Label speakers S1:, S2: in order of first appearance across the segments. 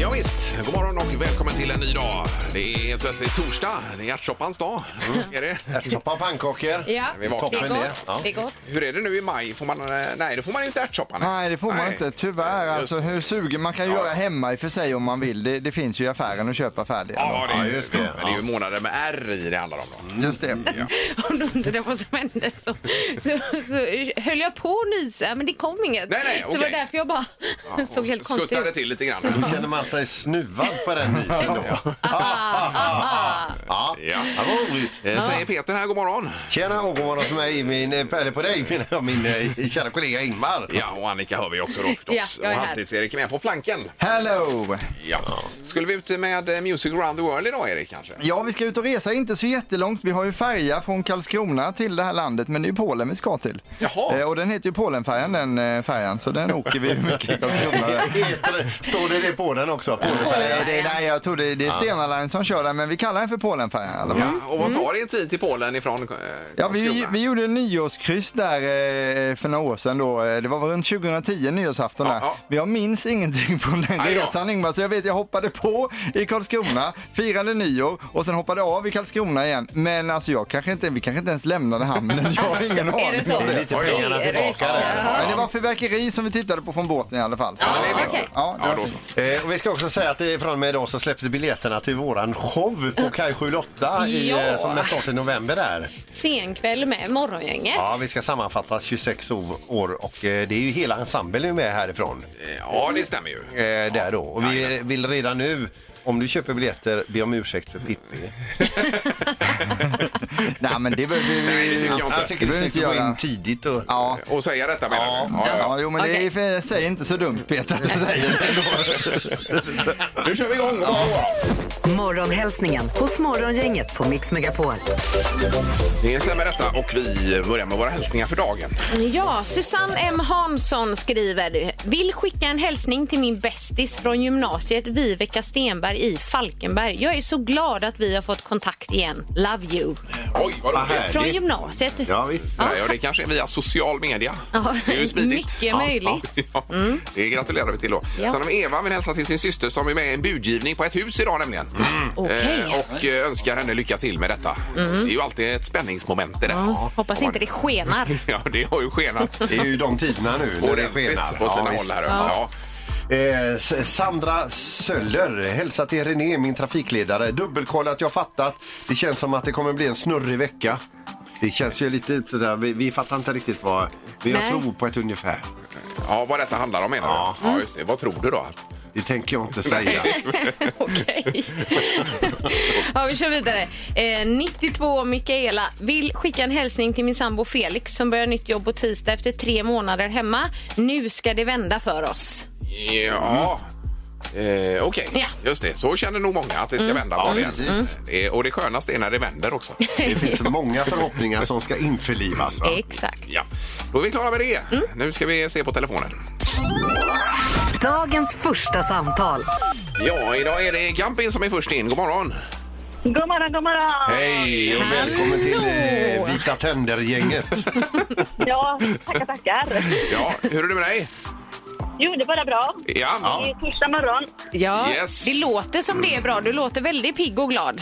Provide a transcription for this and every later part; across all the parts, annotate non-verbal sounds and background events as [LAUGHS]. S1: Ja, visst. God morgon och välkommen till en ny dag. Det är helt plötsligt torsdag. Det är ärtsoppans dag. Mm, är det?
S2: Ärtsoppa och pannkakor.
S3: Ja,
S1: Vi vaknar.
S3: det är
S2: Toppen det.
S3: gott.
S2: Ja.
S3: Det är gott.
S1: Hur är det nu i maj? Får man, eh, nej, då får man inte ärtsoppa.
S4: Nej, det får man inte. Tyvärr.
S1: Eh,
S4: Alltså, hur sugen man kan göra hemma i och för sig om man vill. Det, det finns ju i affären att köpa färdiga.
S1: Ja, det är,
S2: Ja,
S1: just
S2: just
S1: det.
S2: det.
S1: Men det är ju månader med R i det handlar om. Då.
S4: Just det.
S3: Om du undrade vad som hände så, så, så höll jag på att nysa, men det kom inget.
S1: Nej, nej,
S3: så det var
S1: okej.
S3: därför jag bara
S1: Ja,
S3: såg
S1: och
S3: helt konstig
S1: skuttade
S3: ut.
S1: till lite grann.
S2: Då känner man sig snuvad på den nysen då. Ja,
S3: Ah,
S4: Ah,
S1: Ja. Ja.
S2: vad roligt.
S1: Eh, Säger Peter här, god morgon.
S2: Tjena och god morgon på mig, min, eh, eller på dig, [LAUGHS] min, min eh, kära kollega Ingmar.
S1: Ja, och Annika hör vi också då förstås.
S3: Ja, jag är
S1: och
S3: här.
S1: Halvtids-Erik är med på flanken.
S4: Hello!
S1: Ja. Skulle vi ut med eh, Music around the world idag, Erik? kanske?
S4: Ja, vi ska ut och resa inte så jättelångt. Vi har ju färja från Karlskrona till det här landet, men det är ju Polen vi ska till.
S1: Jaha.
S4: Eh, och den heter ju Polenfärjan, den eh, färjan, så den åker vi mycket i Karlskrona. där.
S2: [LAUGHS] Heter det- Står det det på den också? På den färgen?
S4: Nej, det, nej, jag tror det, det är Stena Line som kör den, men vi kallar den för Polenfärjan i alla fall.
S1: Ja, och vad tar er tid till Polen ifrån eh,
S4: Ja, vi,
S1: Karlskrona?
S4: vi gjorde en nyårskryss där eh, för några år sedan då. Eh, Det var väl runt 2010, nyårsafton där.
S1: Ja,
S4: Men jag minns ingenting från den
S1: Aj då.
S4: resan Ingmar, så jag vet jag hoppade på i Karlskrona, firade nyår och sen hoppade av i Karlskrona igen. Men alltså jag kanske inte, vi kanske inte ens lämnade hamnen. Jag har ingen
S3: Alltså, Är det
S4: aning.
S3: så?
S4: om ah. det.
S2: Lite pengarna tillbaka där.
S4: Men det var fyrverkeri som vi tittade på från båten i alla fall. Så.
S1: Ja, det är bra.
S3: okej.
S4: Ja, det
S1: Ja,
S4: var
S1: då
S4: fint.
S1: så.
S2: Eh, och vi ska också säga att det är från och med idag så släpps biljetterna till våran show på Kaj 78 i,
S3: Ja.
S2: eh, som är start i november där.
S3: Senkväll med Morgongänget.
S2: Ja, vi ska sammanfatta 26 o- år och eh, det är ju hela ensemblen är med härifrån.
S1: Ja, det stämmer ju.
S2: Eh, där då. Och vi vill redan nu, om du köper biljetter, be om ursäkt för Pippi.
S4: Nej, men det var...
S1: Nej, det
S4: vi-
S1: tycker jag inte.
S2: Jag tycker
S4: Det
S2: det är
S4: behöver
S2: snyggt
S4: inte
S2: att gå
S4: göra.
S2: in tidigt och...
S4: Ja.
S1: Och säga detta menar du? Ja, ja.
S4: Ja, jo, men det är, säg inte så dumt Peter att du säger det.
S1: Nu kör vi igång!
S5: Morgonhälsningen hos Morgongänget på Mix Megapol.
S1: Det stämmer detta och vi börjar med våra hälsningar för dagen.
S3: Ja, Susanne M Hansson skriver. Vill skicka en hälsning till min bästis från gymnasiet, Viveka Stenberg i Falkenberg. Jag är så glad att vi har fått kontakt igen. Love you.
S1: Oj, vad roligt!
S2: härligt.
S3: Från
S2: Härligt.
S3: gymnasiet.
S2: Ja, visst.
S1: Ja, ja, det kanske är via social media.
S3: Ja,
S1: Det är ju smidigt.
S3: mycket
S1: ja,
S3: möjligt. Mm.
S1: Ja, [LAUGHS] ja. Det gratulerar vi till då.
S3: Ja.
S1: Sen har vi Eva vill hälsa till sin syster som är med i en budgivning på ett hus idag nämligen.
S2: Mm.
S3: Okej. Mm.
S1: Eh, och eh, önskar henne lycka till med detta. Det är ju alltid ett spänningsmoment i det.
S3: Ja, hoppas inte det skenar.
S1: [LAUGHS] Ja, det har
S3: [LAUGHS]
S1: ju skenat.
S2: Det är ju de tiderna nu när det
S1: Ordentligt
S2: skenar.
S1: på
S2: Ja,
S1: sina håll
S2: visst.
S1: här. Ja.
S2: Eh, S- Sandra Söller, hälsa till René, min trafikledare. Dubbelkolla att jag fattat. Det känns som att det kommer bli en snurrig vecka. Det känns ju lite sådär, vi, vi fattar inte riktigt vad... Vi har
S3: Nej.
S2: tro på ett ungefär.
S1: ja, vad detta handlar om menar du? Ja. just det. Vad tror du då?
S2: Det tänker jag
S3: [LAUGHS]
S2: inte säga.
S3: Okej. ja, vi kör vidare. Eh, 92 Mikaela vill skicka en hälsning till min sambo Felix som börjar nytt jobb på tisdag efter tre månader hemma. Nu ska det vända för oss.
S1: Ja. Eh, Okej,
S3: Ja.
S1: just det. Så känner nog många att det ska vända på det. Det är- Och det skönaste är när det vänder också. [LAUGHS]
S2: Det finns många förhoppningar som ska införlivas. Va?
S3: Exakt.
S1: Ja. Då är vi klara med det. Nu ska vi se på telefonen.
S5: Dagens första samtal.
S1: Ja, idag är det Gampin som är först in. God morgon!
S6: God morgon, god morgon.
S1: Hej!
S2: Och välkommen till eh, Vita
S3: [LAUGHS]
S2: tänder-gänget.
S6: Ja, tackar, tackar.
S1: Ja, hur är det med dig?
S6: Jo, det är bara bra.
S1: Ja.
S6: Det är torsdag morgon.
S3: Ja,
S1: Yes.
S3: Det låter som det är bra. Du låter väldigt pigg och glad.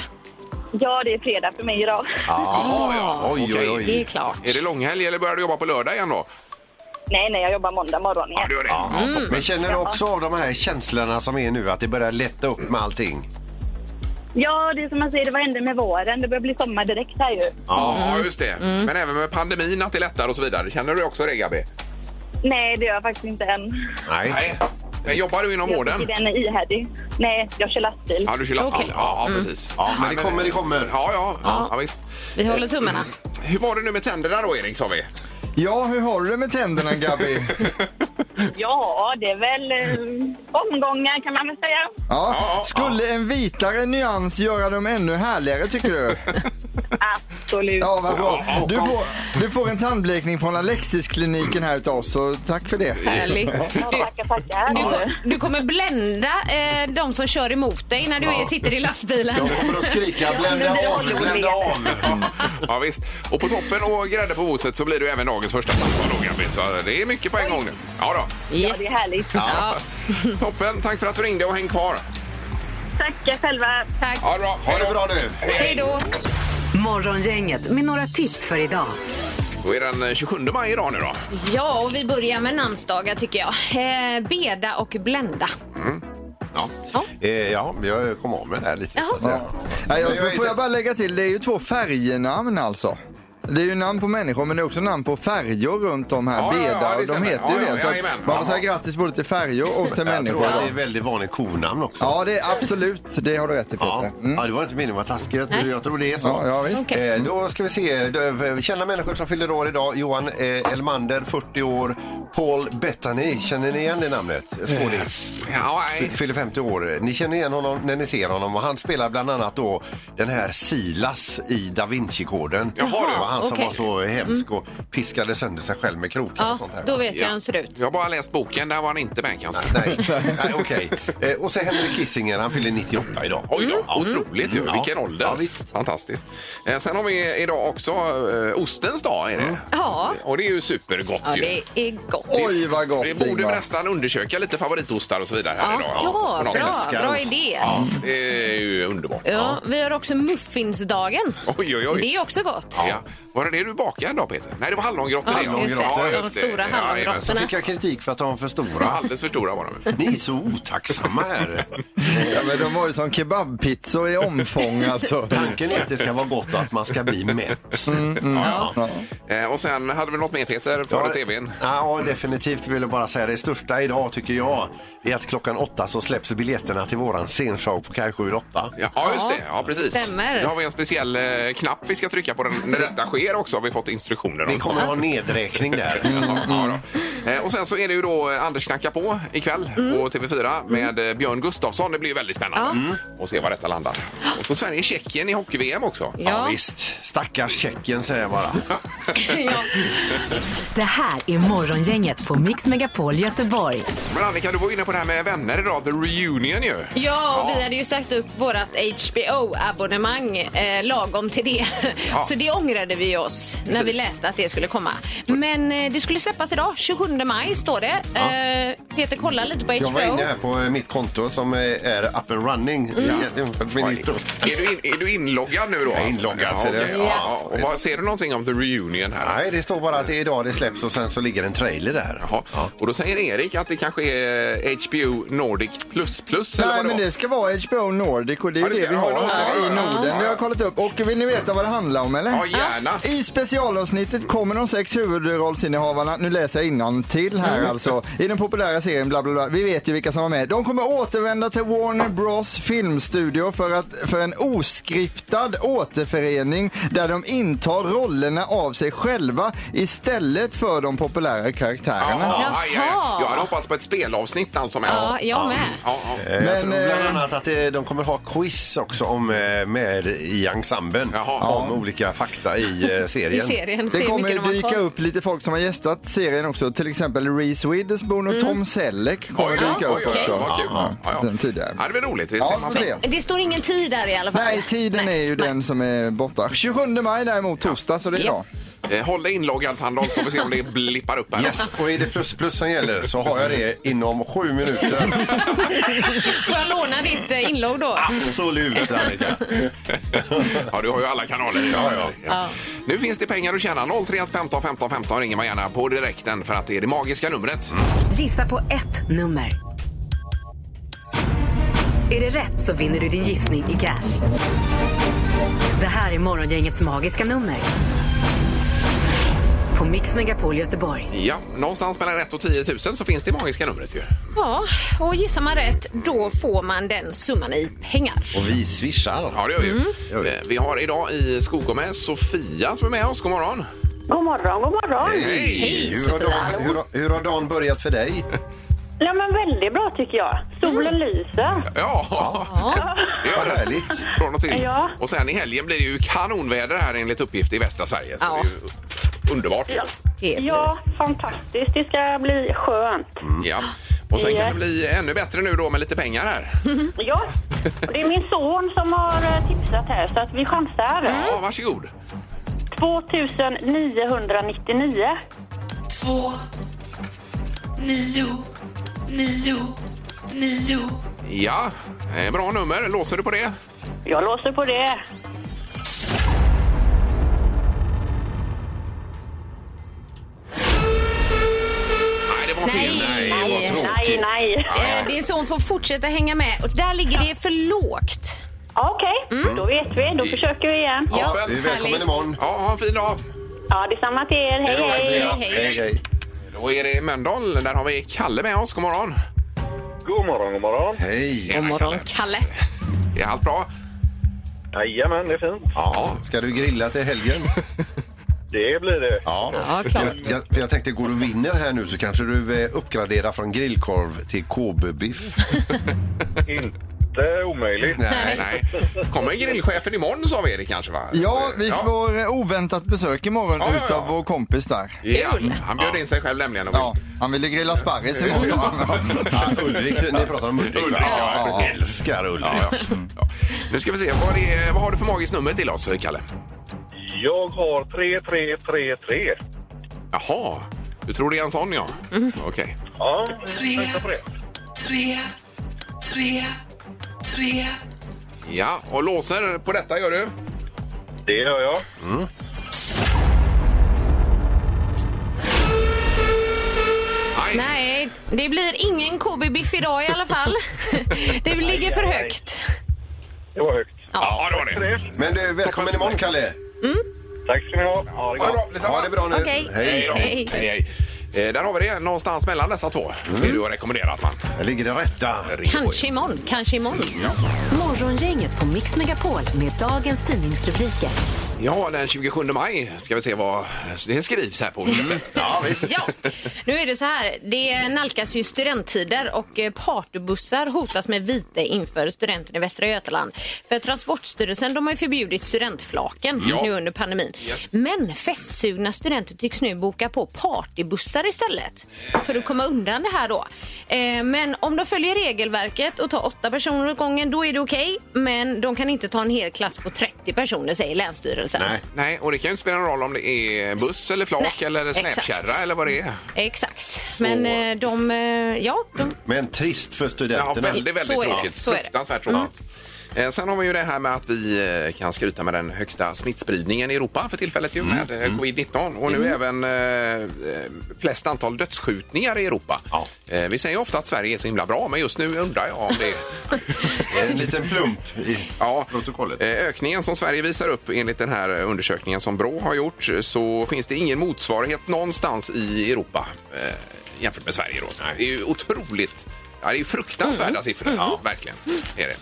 S6: Ja, det är fredag för mig idag.
S1: Jaha, ja.
S2: Oj, oj,
S1: Okej.
S2: oj.
S3: Det är klart.
S1: Är det långhelg eller börjar du jobba på lördag igen då?
S6: Nej, nej, jag jobbar måndag morgon
S1: Ja,
S6: igen.
S1: du gör det. Mm. Ja, toppen.
S2: Men känner du också av de här känslorna som är nu, att det börjar lätta upp med allting?
S6: Ja, det är som man säger, det var ändå med våren. Det börjar bli sommar direkt här ju.
S1: Ja, just det. Men även med pandemin att det lättar och så vidare. Känner du också det, Gabi?
S6: Nej, det gör jag faktiskt inte än.
S1: Nej. Men jobbar du inom
S6: Jag
S1: vården?
S6: tycker den är ihärdig. Nej, jag kör lastbil.
S1: Ja, du kör lastbil. Ja,
S3: Mm.
S1: ja, precis. Ja, eh,
S2: men det kommer, det kommer.
S1: Ja, ja, ja. visst.
S3: Vi håller tummarna.
S1: Hur var det nu med tänderna då, Erik, sa vi?
S4: Ja, hur har du det med tänderna Gabi?
S6: Ja, det är väl eh, omgångar kan man väl säga.
S4: Ja.
S1: Ja, ja, [LAUGHS]
S4: Skulle en vitare nyans göra dem ännu härligare tycker du?
S6: Absolut.
S4: Ja, vad bra.
S1: Ja, ja.
S4: Du får, du får en tandblekning från Alexis-kliniken här utav oss, så tack för det.
S3: Härligt.
S6: Ja,
S3: Du,
S6: tackar, tackar.
S3: du, ko- du kommer blända eh, de som kör emot dig när du är, sitter i lastbilen.
S2: Jag kommer att skrika
S6: men
S2: blända
S6: det
S2: av,
S6: var
S2: blända
S6: roligt.
S2: av.
S1: [LAUGHS] Ja, visst. Och på toppen och grädde på moset så blir det ju även dagens första samtal då, Gabi. Så det är mycket på en gång nu. Ja
S3: [LAUGHS]
S1: då.
S6: Ja, det är härligt.
S3: Ja,
S1: Toppen, tack för att du ringde och häng kvar.
S6: Tack själva.
S3: tack.
S1: Ha det bra.
S2: Ha det bra nu.
S3: Hej då.
S5: Morgongänget med några tips för idag.
S1: Då är den eh, 27 maj idag nu då.
S3: Ja, och vi börjar med namnsdagar tycker jag. Eh, Beda och Blenda.
S1: Ja.
S2: Eh, ja, jag kom av med det här lite. Så att
S3: Jaha.
S2: jag,
S4: Nej,
S2: Men jag
S4: jag,
S2: är
S4: får jag
S2: inte-
S4: bara lägga till, det är ju två färgnamn alltså. Det är ju namn på människor men det är också namn på färjor runt om här.
S1: Ja, ja, ja,
S4: Beda,
S1: det
S4: och de
S1: stämmer.
S4: heter ju
S1: Ja, ja,
S4: det. Så att
S1: jajamän.
S4: man får säga
S1: Jaha.
S4: grattis både till färjor och till
S2: jag
S4: människor.
S2: tror att det är
S4: idag.
S2: väldigt vanligt konamn också.
S4: Ja, det är absolut. Det har du rätt i
S2: Ja.
S4: Peter. Mm.
S2: ja, det var inte meningen att vara taskig. Jag tror,
S3: Nej.
S2: jag tror det är så.
S4: Ja, ja, visst.
S3: Okej.
S2: Eh, då ska vi se. Dö- Kända människor som fyller år idag. Johan eh, Elmander, 40 år. Paul Bettany, känner ni igen det namnet? Skådis.
S1: Ja, nej.
S2: Fy- Fyller 50 år. Ni känner igen honom när ni ser honom. Och han spelar bland annat då den här Silas i Da Vinci-koden.
S1: Jaha,
S2: det var han som
S3: okej. Mm.
S2: var så hemsk och piskade sönder sig själv med krokar och
S3: Ja,
S2: sånt här.
S3: då vet jag
S1: Ja.
S3: hur han ser ut.
S1: Jag har bara läst boken, där var han inte med kanske.
S2: Nej, nej okej. Eh, och så Henrik Kissinger, han fyller 98 idag.
S3: Mm.
S1: Oj då, otroligt ju.
S2: Mm.
S1: Vilken
S2: Ja.
S1: ålder.
S2: Ja, visst.
S1: Fantastiskt. Eh, sen har vi idag också eh, ostens dag. Är det.
S3: Mm. Ja.
S1: Och det är ju supergott
S3: Ja,
S1: ju.
S3: det är gott.
S4: Oj, vad gott
S1: Det borde vi
S4: Ingvar.
S1: nästan undersöka lite favoritostar och så vidare här
S3: Ja,
S1: idag.
S3: ja,
S1: På något
S3: bra,
S1: sätt.
S3: bra idé.
S1: Ja, det är ju underbart.
S3: Ja, vi har också muffinsdagen.
S1: Oj, oj, oj.
S3: Det är också gott.
S1: Ja. Var det det du bakade då Peter? Nej, det var hallongrottor.
S3: Ja,
S1: det,
S3: just det.
S1: Ja,
S3: De
S1: just det.
S3: stora
S1: Ja, jajamän.
S3: hallongrottorna.
S2: Så fick jag kritik för att de var för
S1: Ja,
S2: stora.
S1: Alldeles för stora var de.
S2: Ni är så otacksamma här.
S4: Ja, men de var ju som kebabpizzor i omfång alltså.
S2: Tanken är att det ska vara gott och att man ska bli mätt.
S1: Mm. Ja, ja. Eh, Och sen hade vi något mer Peter före tvn.
S2: Ja, definitivt vill jag bara säga det största idag tycker jag är att klockan åtta så släpps biljetterna till våran scenshow på Kaj 78.
S1: Ja, just det. Ja, precis.
S3: stämmer.
S1: Nu har vi en speciell eh, knapp vi ska trycka på den, när detta sker också. Har vi fått instruktioner om.
S2: Vi kommer ha nedräkning där.
S1: Ja, ja, då. Eh, Och sen så är det ju då eh, Anders knackar på ikväll
S3: Mm.
S1: på TV4 med eh, Björn Gustafsson. Det blir ju väldigt spännande
S3: Mm.
S1: att se var detta landar. Och så Sverige-Tjeckien i hockey-VM också.
S3: Ja.
S2: Ja, visst. Stackars Tjeckien säger jag bara.
S3: ja.
S5: Det här är Morgongänget på Mix Megapol Göteborg.
S1: Men Annika, du var inne på det här med vänner idag, the reunion ju.
S3: Ja, och
S1: Ja.
S3: vi hade ju sagt upp vårt HBO-abonnemang eh, lagom till det.
S1: Ja.
S3: Så det ångrade vi oss när vi
S1: Precis.
S3: läste att det skulle komma. Men eh, det skulle släppas idag, 27 maj står det. Eh, Peter kolla lite på HBO.
S2: Jag var inne här på eh, mitt konto som eh, är up and running.
S1: Mm.
S2: Jämfört med ditt då.
S1: Är du, in, är du inloggad nu då? Jag
S2: är inloggad,
S1: Ja,
S2: ser du.
S1: okej.
S2: Ja.
S1: ja. Och vad, ser du någonting om the reunion här?
S2: Nej, det står bara att det är idag det släpps och sen så ligger en trailer där.
S1: Jaha. Och då säger Erik att det kanske är HBO Nordic plus plus. eller
S4: Nej,
S1: vad
S4: men
S1: var?
S4: det ska vara HBO Nordic och det är
S1: Ja,
S4: ju
S1: det
S4: det,
S1: ska-
S4: vi
S1: ja,
S4: har
S1: då
S4: här
S1: ska
S4: i
S1: det vara.
S4: Norden.
S1: Ja.
S4: Vi har kollat upp. Och vill ni veta vad det handlar om eller?
S1: Ja, gärna.
S4: I specialavsnittet kommer de sex huvudrollsinnehavarna, nu läser jag innan till här
S1: Mm.
S4: alltså, i den populära serien bla bla bla. Vi vet ju vilka som var med. De kommer återvända till Warner Bros filmstudio för, att, för en oskriptad återförening där de intar rollerna av sig själva istället för de populära karaktärerna.
S1: Jaha.
S3: Jaha.
S1: Aj, aj. Jag hade hoppats på ett spelavsnitt alltså med.
S3: Ja, jag med.
S1: Ja, ja.
S2: Men, jag
S4: Men,
S2: tror bland
S4: eh,
S2: annat att det, de kommer ha quiz också om, eh, med i ensemblen
S1: Jaha.
S2: om olika fakta i eh,
S3: I
S2: serien.
S3: serien. Se
S4: Det
S3: hur
S4: kommer
S3: mycket de
S4: ju
S3: har
S4: dyka
S3: kvar.
S4: upp lite folk som har gästat serien också. Till exempel Reese Witherspoon
S3: Mm.
S4: och Tom Selleck kommer
S1: Oj,
S4: dyka upp
S1: oj, oj,
S4: också.
S1: Vad kul. Ja, ja.
S4: Sen tidigare.
S1: Ja, det blir roligt. Det
S4: Ja,
S1: ser man
S4: får
S1: fram
S4: se.
S1: emot.
S3: Det står ingen tid där i alla fall.
S4: Nej, tiden är ju den som är borta. 27 maj däremot, torsdag, så det är
S3: Ja.
S4: idag.
S1: Eh, Håll dig inloggad Sandholt, får vi se
S4: [LAUGHS]
S1: om det blippar upp här.
S2: Yes, och är det plus plus som gäller så har jag det inom sju minuter.
S3: Får jag låna ditt eh, inlogg då?
S2: Absolut, Annika.
S1: Ja, du har ju alla kanaler. Ja, ja.
S3: Ja.
S1: Nu finns det pengar att tjäna. 031 15 15 15 ringer man gärna på direkten för att det är det magiska numret.
S4: Mm.
S5: Gissa på ett nummer. Är det rätt så vinner du din gissning i cash. Det här är Morgongängets magiska nummer. På Mix Megapol Göteborg.
S1: Ja, någonstans mellan 1 och 10 000 så finns det magiska numret ju.
S3: Ja, och gissar man rätt då får man den summan i pengar.
S2: Och vi swishar.
S1: Ja, det gör vi.
S6: Mm.
S2: Gör vi.
S1: Eh, Vi har idag i Skogome Sofia som är med oss. God morgon!
S6: God morgon, god morgon.
S1: Hej!
S2: Hur har, dagen, hur, har- hur har dagen börjat för dig?
S6: Ja, men väldigt bra tycker jag. Solen lyser.
S1: Ja, det gör
S2: Vad
S1: det.
S2: härligt.
S1: Från och till.
S6: Ja.
S1: Och sen i helgen blir det ju kanonväder här enligt uppgift i västra Sverige. Så
S3: Ja.
S1: det är ju underbart.
S6: Ja.
S3: Det blir-
S6: Ja, fantastiskt. Det ska bli skönt.
S1: Mm. Ja. Och sen kan
S6: Ja. Mm.
S1: det bli ännu bättre nu då med lite pengar här.
S6: Ja, och det är min son som har eh, tipsat här så att vi chansar.
S1: Ja, varsågod.
S6: 2999.
S7: två, nio, nio, nio.
S1: Ja, eh, bra nummer. Låser du på det?
S6: Jag låser på det.
S1: Nej, det var fel.
S3: Nej,
S1: nej,
S3: nej,
S1: vad
S6: Nej,
S1: tråkigt.
S6: nej.
S3: Eh, Det är så hon får fortsätta hänga med. Och där ligger det för lågt.
S6: Ja, Okej, då vet vi. Då försöker vi igen.
S3: Ja,
S2: Du är välkommen
S3: härligt.
S2: imorgon.
S1: Ja, ha en fin dag.
S6: Ja, detsamma till er. Hej, hej.
S3: Hej, hej.
S2: Hej, hej.
S1: Då är det Mölndal. Där har vi Kalle med oss. God morgon.
S8: God morgon, god morgon.
S2: Hej.
S1: God morgon.
S3: Kalle.
S1: Är allt bra?
S8: Jajamän, det är fint.
S1: Ja.
S2: Ska du grilla till helgen?
S8: Det blir det.
S3: Ja, klart.
S2: Jag, jag, jag tänkte, går du vinner här nu så kanske du eh, uppgraderar från grillkorv till
S3: [LAUGHS]
S2: KB-biff.
S8: Inte omöjligt.
S1: Nej, nej. Kommer grillchefen imorgon sa vi det kanske va?
S4: Ja, vi får eh, oväntat besök imorgon
S1: Ja, ja, ja.
S4: utav vår kompis där.
S1: Ja, han bjöd in sig själv nämligen. och-
S4: Ja, han ville grilla sparris imorgon. sa han.
S1: [LAUGHS]
S2: Ja, Ulrik, ni pratar om Ulrik.
S1: Ulrik, ja,
S2: ja,
S1: precis.
S2: älskar Ulrik.
S1: Ja, ja.
S4: Mm.
S1: Ja. Nu ska vi se, vad, är, vad har du för magiskt nummer till oss, Kalle?
S8: Jag har 3333.
S1: Jaha, du tror det är en sån ja?
S4: Mm.
S1: Okej.
S8: Ja,
S7: Tre.
S8: vänta på det.
S7: Tre, tre, tre.
S1: Ja, och låser på detta gör du?
S8: Det gör jag.
S3: Nej, det blir ingen KB-biff idag i alla fall. [LAUGHS] Det ligger för högt.
S8: Det var högt.
S1: Ja, det var det.
S2: Men du, välkommen imorgon, Kalle.
S8: Tack ska ni ha. Ha det
S1: Ha det
S8: gott.
S1: bra, detsamma.
S2: Ha det bra nu.
S3: Okej.
S2: Hej.
S1: då.
S3: Hej.
S1: Hej, hej. Eh, Där har vi det, någonstans mellan dessa två.
S4: Mm.
S1: Det är du har rekommenderat man.
S2: Här ligger det rätta.
S3: Kanske imorgon, kanske imorgon.
S5: Morgongänget på Mix Megapol med dagens tidningsrubriker.
S1: Ja, den 27 maj ska vi se vad det skrivs här på olika sätt. [LAUGHS] Ja, visst.
S3: Ja, nu är det så här. Det nalkas ju studenttider och eh, partybussar hotas med vite inför studenten i Västra Götaland. För Transportstyrelsen de har ju förbjudit studentflaken
S1: Ja.
S3: nu under pandemin.
S1: Yes.
S3: Men festsugna studenter tycks nu boka på partybussar istället för att komma undan det här då. Eh, Men om de följer regelverket och tar åtta personer åt gången, då är det okej. Men de kan inte ta en hel klass på 30 personer, säger Länsstyrelsen.
S1: Nej, och det kan ju inte spela någon roll om det är buss eller flak
S3: Nej,
S1: eller
S3: exakt.
S1: släpkärra eller vad det är.
S3: Exakt. Men eh, de, eh, ja, de
S2: Men trist för
S1: Ja,
S2: studenterna.
S1: väldigt, väldigt
S3: Så är det.
S1: tråkigt.
S3: Så är det. Mm.
S1: Fruktansvärt tråkigt. Eh, Sen har vi ju det här med att vi eh, kan skryta med den högsta smittspridningen i Europa för tillfället ju med eh, covid-19 och nu
S3: Mm.
S1: även eh, eh, flest antal dödsskjutningar i Europa. Eh, vi säger ofta att Sverige är så himla bra men just nu undrar jag om det
S2: En liten plump i
S1: Ja,
S2: protokollet.
S1: eh, ökningen som Sverige visar upp enligt den här undersökningen som Brå har gjort så finns det ingen motsvarighet någonstans i Europa eh, jämfört med Sverige. Då. Så Det är ju otroligt, ja, det är ju fruktansvärda siffror. Ja, verkligen. Är det.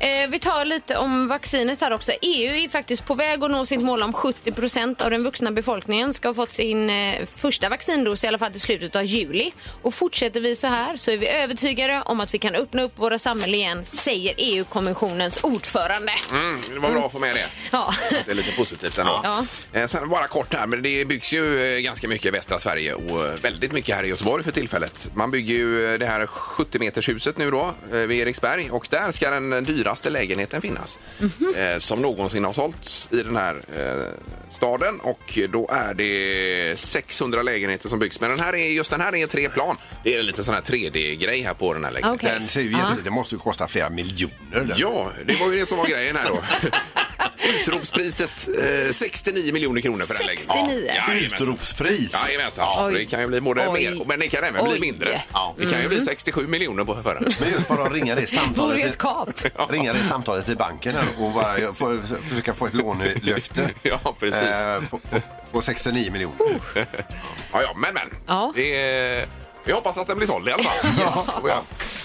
S3: Eh, vi tar lite om vaccinet här också. EU är faktiskt på väg att nå sitt mål om 70 procent av den vuxna befolkningen ska ha fått sin eh, första vaccindos i alla fall till slutet av juli. Och fortsätter vi så här så är vi övertygade om att vi kan öppna upp våra samhällen igen, säger EU-kommissionens ordförande.
S1: Mm, det var bra att få med det.
S3: Ja.
S1: Att [LAUGHS] Det är lite positivt ändå.
S3: Ja.
S1: Eh, Sen bara kort här, men det byggs ju eh, ganska mycket i västra Sverige och eh, väldigt mycket här i Göteborg för tillfället. Man bygger ju eh, det här 70-metershuset nu då eh, vid Eriksberg och där ska den eh, dyraste lägenheten finnas
S3: Mhm.
S1: eh, som någonsin har sålts i den här eh, staden och då är det 600 lägenheter som byggs. Men den här är, just den här är tre plan. Det är lite sån här 3D-grej här på den här lägenheten.
S3: Okej.
S2: Den ser ju jätte... Det måste ju kosta flera miljoner. Den.
S1: Ja, det var ju det som var grejen
S2: [LAUGHS]
S1: här då. Utropspriset eh, 69 miljoner kronor för den lägenheten.
S3: 69.
S1: Ja, jajamensan.
S2: Utropspris.
S1: Jajamensan. Ja,
S3: Oj.
S1: det kan ju bli både
S3: Oj.
S1: mer, men det kan även bli
S3: Oj. Mm.
S1: mindre. Ja. Det kan ju bli 67 miljoner på för den.
S2: Men just bara att ringa
S3: [LAUGHS]
S2: det
S3: Vore
S2: samtalet.
S3: ju ett kap.
S2: Ringa det samtalet till banken här och bara jag får, försöka få ett lånelöfte.
S1: [LAUGHS] Ja, [LAUGHS] precis.
S2: Eh, på, på, på 69 miljoner.
S1: Ja, ja, men men.
S3: Ja. [LAUGHS]
S1: Det, är- vi hoppas att den blir såld i alla fall. Yes. Och jag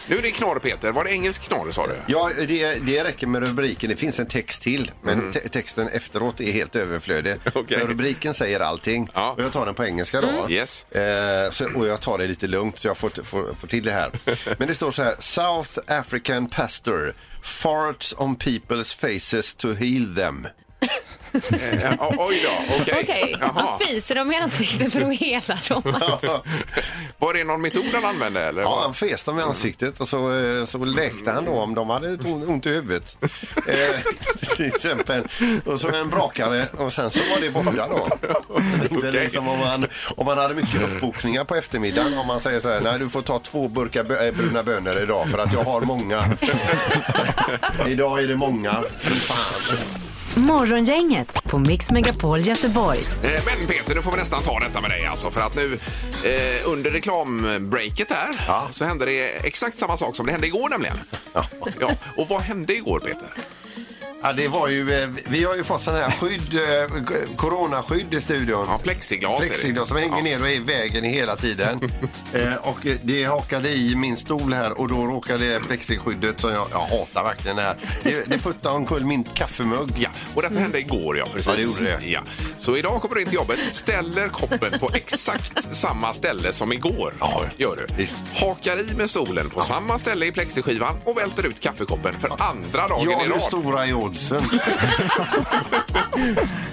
S1: Nu är det knorr, Peter. Var det engelsk knorr, sa du?
S2: Ja, det, det räcker med rubriken. Det finns en text till, men te texten efteråt är helt överflödig.
S1: Mhm. [LAUGHS] Okej.
S2: För Rubriken säger allting.
S1: Ja.
S2: Och jag tar den på engelska då.
S3: Mm.
S1: Yes.
S2: Eh, så, och jag tar det lite lugnt så jag får, får, får till det här. Men det står så här. South African pastor farts on people's faces to heal them.
S1: Eh, o- oj då, okej.
S3: [LAUGHS] Okej,
S1: Jaha.
S3: man fiser dem i ansiktet för att hela dem. alltså.
S1: Var det någon metod han använde? Eller?
S2: Ja,
S1: vad?
S2: han fes dem i ansiktet och så, eh, så läkte han då om de hade ett on- ont i huvudet. Eh, till exempel. Och så en brakare och sen så var det borta då. Inte
S1: Okej.
S2: liksom om, man, om man hade mycket uppbokningar på eftermiddagen om man säger så här, nej du får ta två burkar bö- eh, bruna bönor idag för att jag har många. idag är det många. Fy Fan.
S5: Morgongänget på Mix Megapol Göteborg.
S1: Eh, Men Peter, nu får vi nästan ta detta med dig alltså. För att nu eh, under reklambreaket här
S2: Ja.
S1: så hände det exakt samma sak som det hände igår nämligen. Ja. Och vad hände igår Peter?
S2: Ja, det var ju, eh, vi har ju fått sån här skydd, eh, k- coronaskydd i studion.
S1: Ja, plexiglas. är det.
S2: Plexiglas som hänger
S1: Ja.
S2: ner och är i vägen hela
S1: [LAUGHS]
S2: tiden. eh, och eh, det hakade i min stol här och då råkade plexiskyddet som jag, jag hatar verkligen det här. Det, det puttade omkull min kaffemugg.
S1: Ja, och detta hände igår ja. Precis.
S2: Ja, det gjorde det.
S1: Ja. Så idag kommer du in till jobbet, ställer koppen på exakt samma ställe som igår. Ja, gör du.
S2: visst.
S1: Hakar i med stolen på samma ställe i plexiskivan och välter ut kaffekoppen för andra dagen
S2: Ja,
S1: i
S2: hur
S1: rad.
S2: stora är oddsen?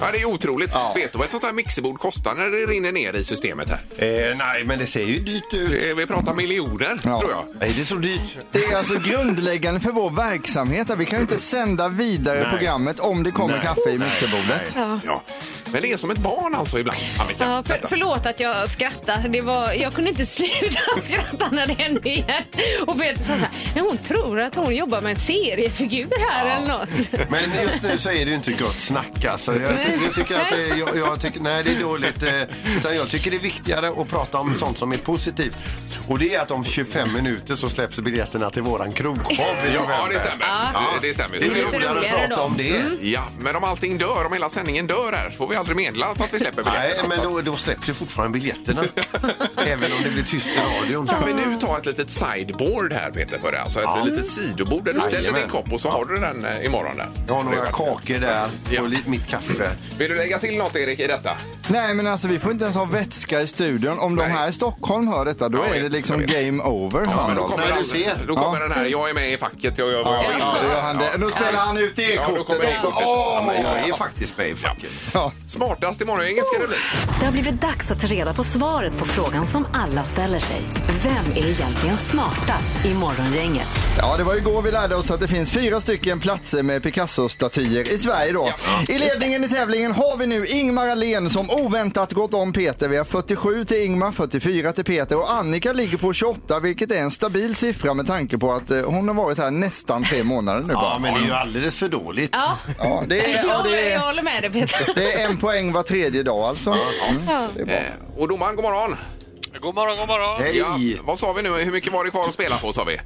S1: Ja, det är otroligt.
S2: Ja.
S1: Vet du vad ett sånt här mixerbord kostar när det rinner ner i systemet här?
S2: eh, nej, men det ser ju dyrt ut.
S1: Eh, Vi pratar miljoner,
S4: Ja.
S1: tror jag.
S2: Nej, det är så dyrt.
S4: Det är alltså grundläggande för vår verksamhet. att Vi kan ju inte sända vidare programmet om det kommer kaffe i mixerbordet.
S3: Ja.
S1: Ja. Men det är som ett barn alltså ibland, Annika.
S3: Ja, för,
S1: Detta.
S3: förlåt att jag skrattar. Det var, jag kunde inte [LAUGHS] sluta skratta när det hände igen. Och Peter sa så här, "Nej, hon tror att hon jobbar med en seriefigur här eller något.
S2: Men just nu så är det ju inte gott snack alltså. Jag, ty- jag tycker att det, jag, jag tycker, nej det är dåligt. eh, Utan jag tycker det är viktigare att prata om sånt som är positivt. Och det är att om 25 minuter så släpps biljetterna till våran krogshow. i
S1: Ja,
S2: november.
S1: det stämmer.
S3: Ja.
S1: Det, det stämmer.
S2: Det är
S3: lite
S2: roligare att
S3: roligare
S2: prata
S3: då.
S2: om det.
S1: Ja, men om allting dör, om hela sändningen dör här, så får vi aldrig meddela att vi släpper
S2: Nej,
S1: biljetter.
S2: men då, då släpps ju fortfarande biljetterna. Även om det blir tyst i radion.
S1: Kan vi nu ta ett litet sideboard här Peter för dig? Alltså ett
S2: Ja.
S1: litet sidobord där du ställer
S2: Jajamän.
S1: din kopp och så har du den eh, imorgon där.
S2: Jag har några
S1: Det är
S2: kakor där
S1: Ja.
S2: och lite mitt kaffe.
S1: Vill du lägga till något Erik i detta?
S4: Nej men alltså vi får inte ens ha vätska i studion. Om de
S1: Nej.
S4: här i Stockholm hör detta då
S1: Jag
S4: är det
S1: vet,
S4: liksom
S1: jag vet.
S4: game over.
S1: Ja, men då kommer,
S2: Nej, du
S1: den-
S2: ser.
S1: Då kommer
S4: Ja.
S1: den här, jag är med i facket, jag gör vad jag
S4: Ja,
S1: vill.
S4: det gör han det. Nu spelar han ut det
S1: Ja, då kommer
S4: kortet
S1: det
S4: också.
S1: kortet. Ja, men jag är
S2: faktiskt med i facket.
S4: Ja.
S1: Smartast i morgongänget ska det bli.
S5: Det har blivit dags att ta reda på svaret på frågan som alla ställer sig. Vem är egentligen smartast i Morgongänget?
S4: Ja, det var igår vi lärde oss att det finns fyra stycken platser med Picasso-statyer i Sverige då. I ledningen i tävlingen har vi nu Ingmar Ahlén som oväntat gått om Peter. Vi har 47 till Ingmar, 44 till Peter och Annika ligger på 28 vilket är en stabil siffra med tanke på att eh, hon har varit här nästan tre månader nu
S2: Ja,
S4: bara.
S2: men det är ju alldeles för dåligt.
S3: Ja,
S4: Ja, det är, ja,
S3: jag,
S4: det
S3: jag
S4: är,
S3: håller med dig Peter.
S4: det är en poäng var tredje dag alltså. Mm. Det är bra.
S1: Eh, Och domaren, god morgon.
S9: God morgon, god morgon.
S2: Hej!
S1: Ja, vad sa vi nu? Hur mycket var det kvar att spela på sa vi?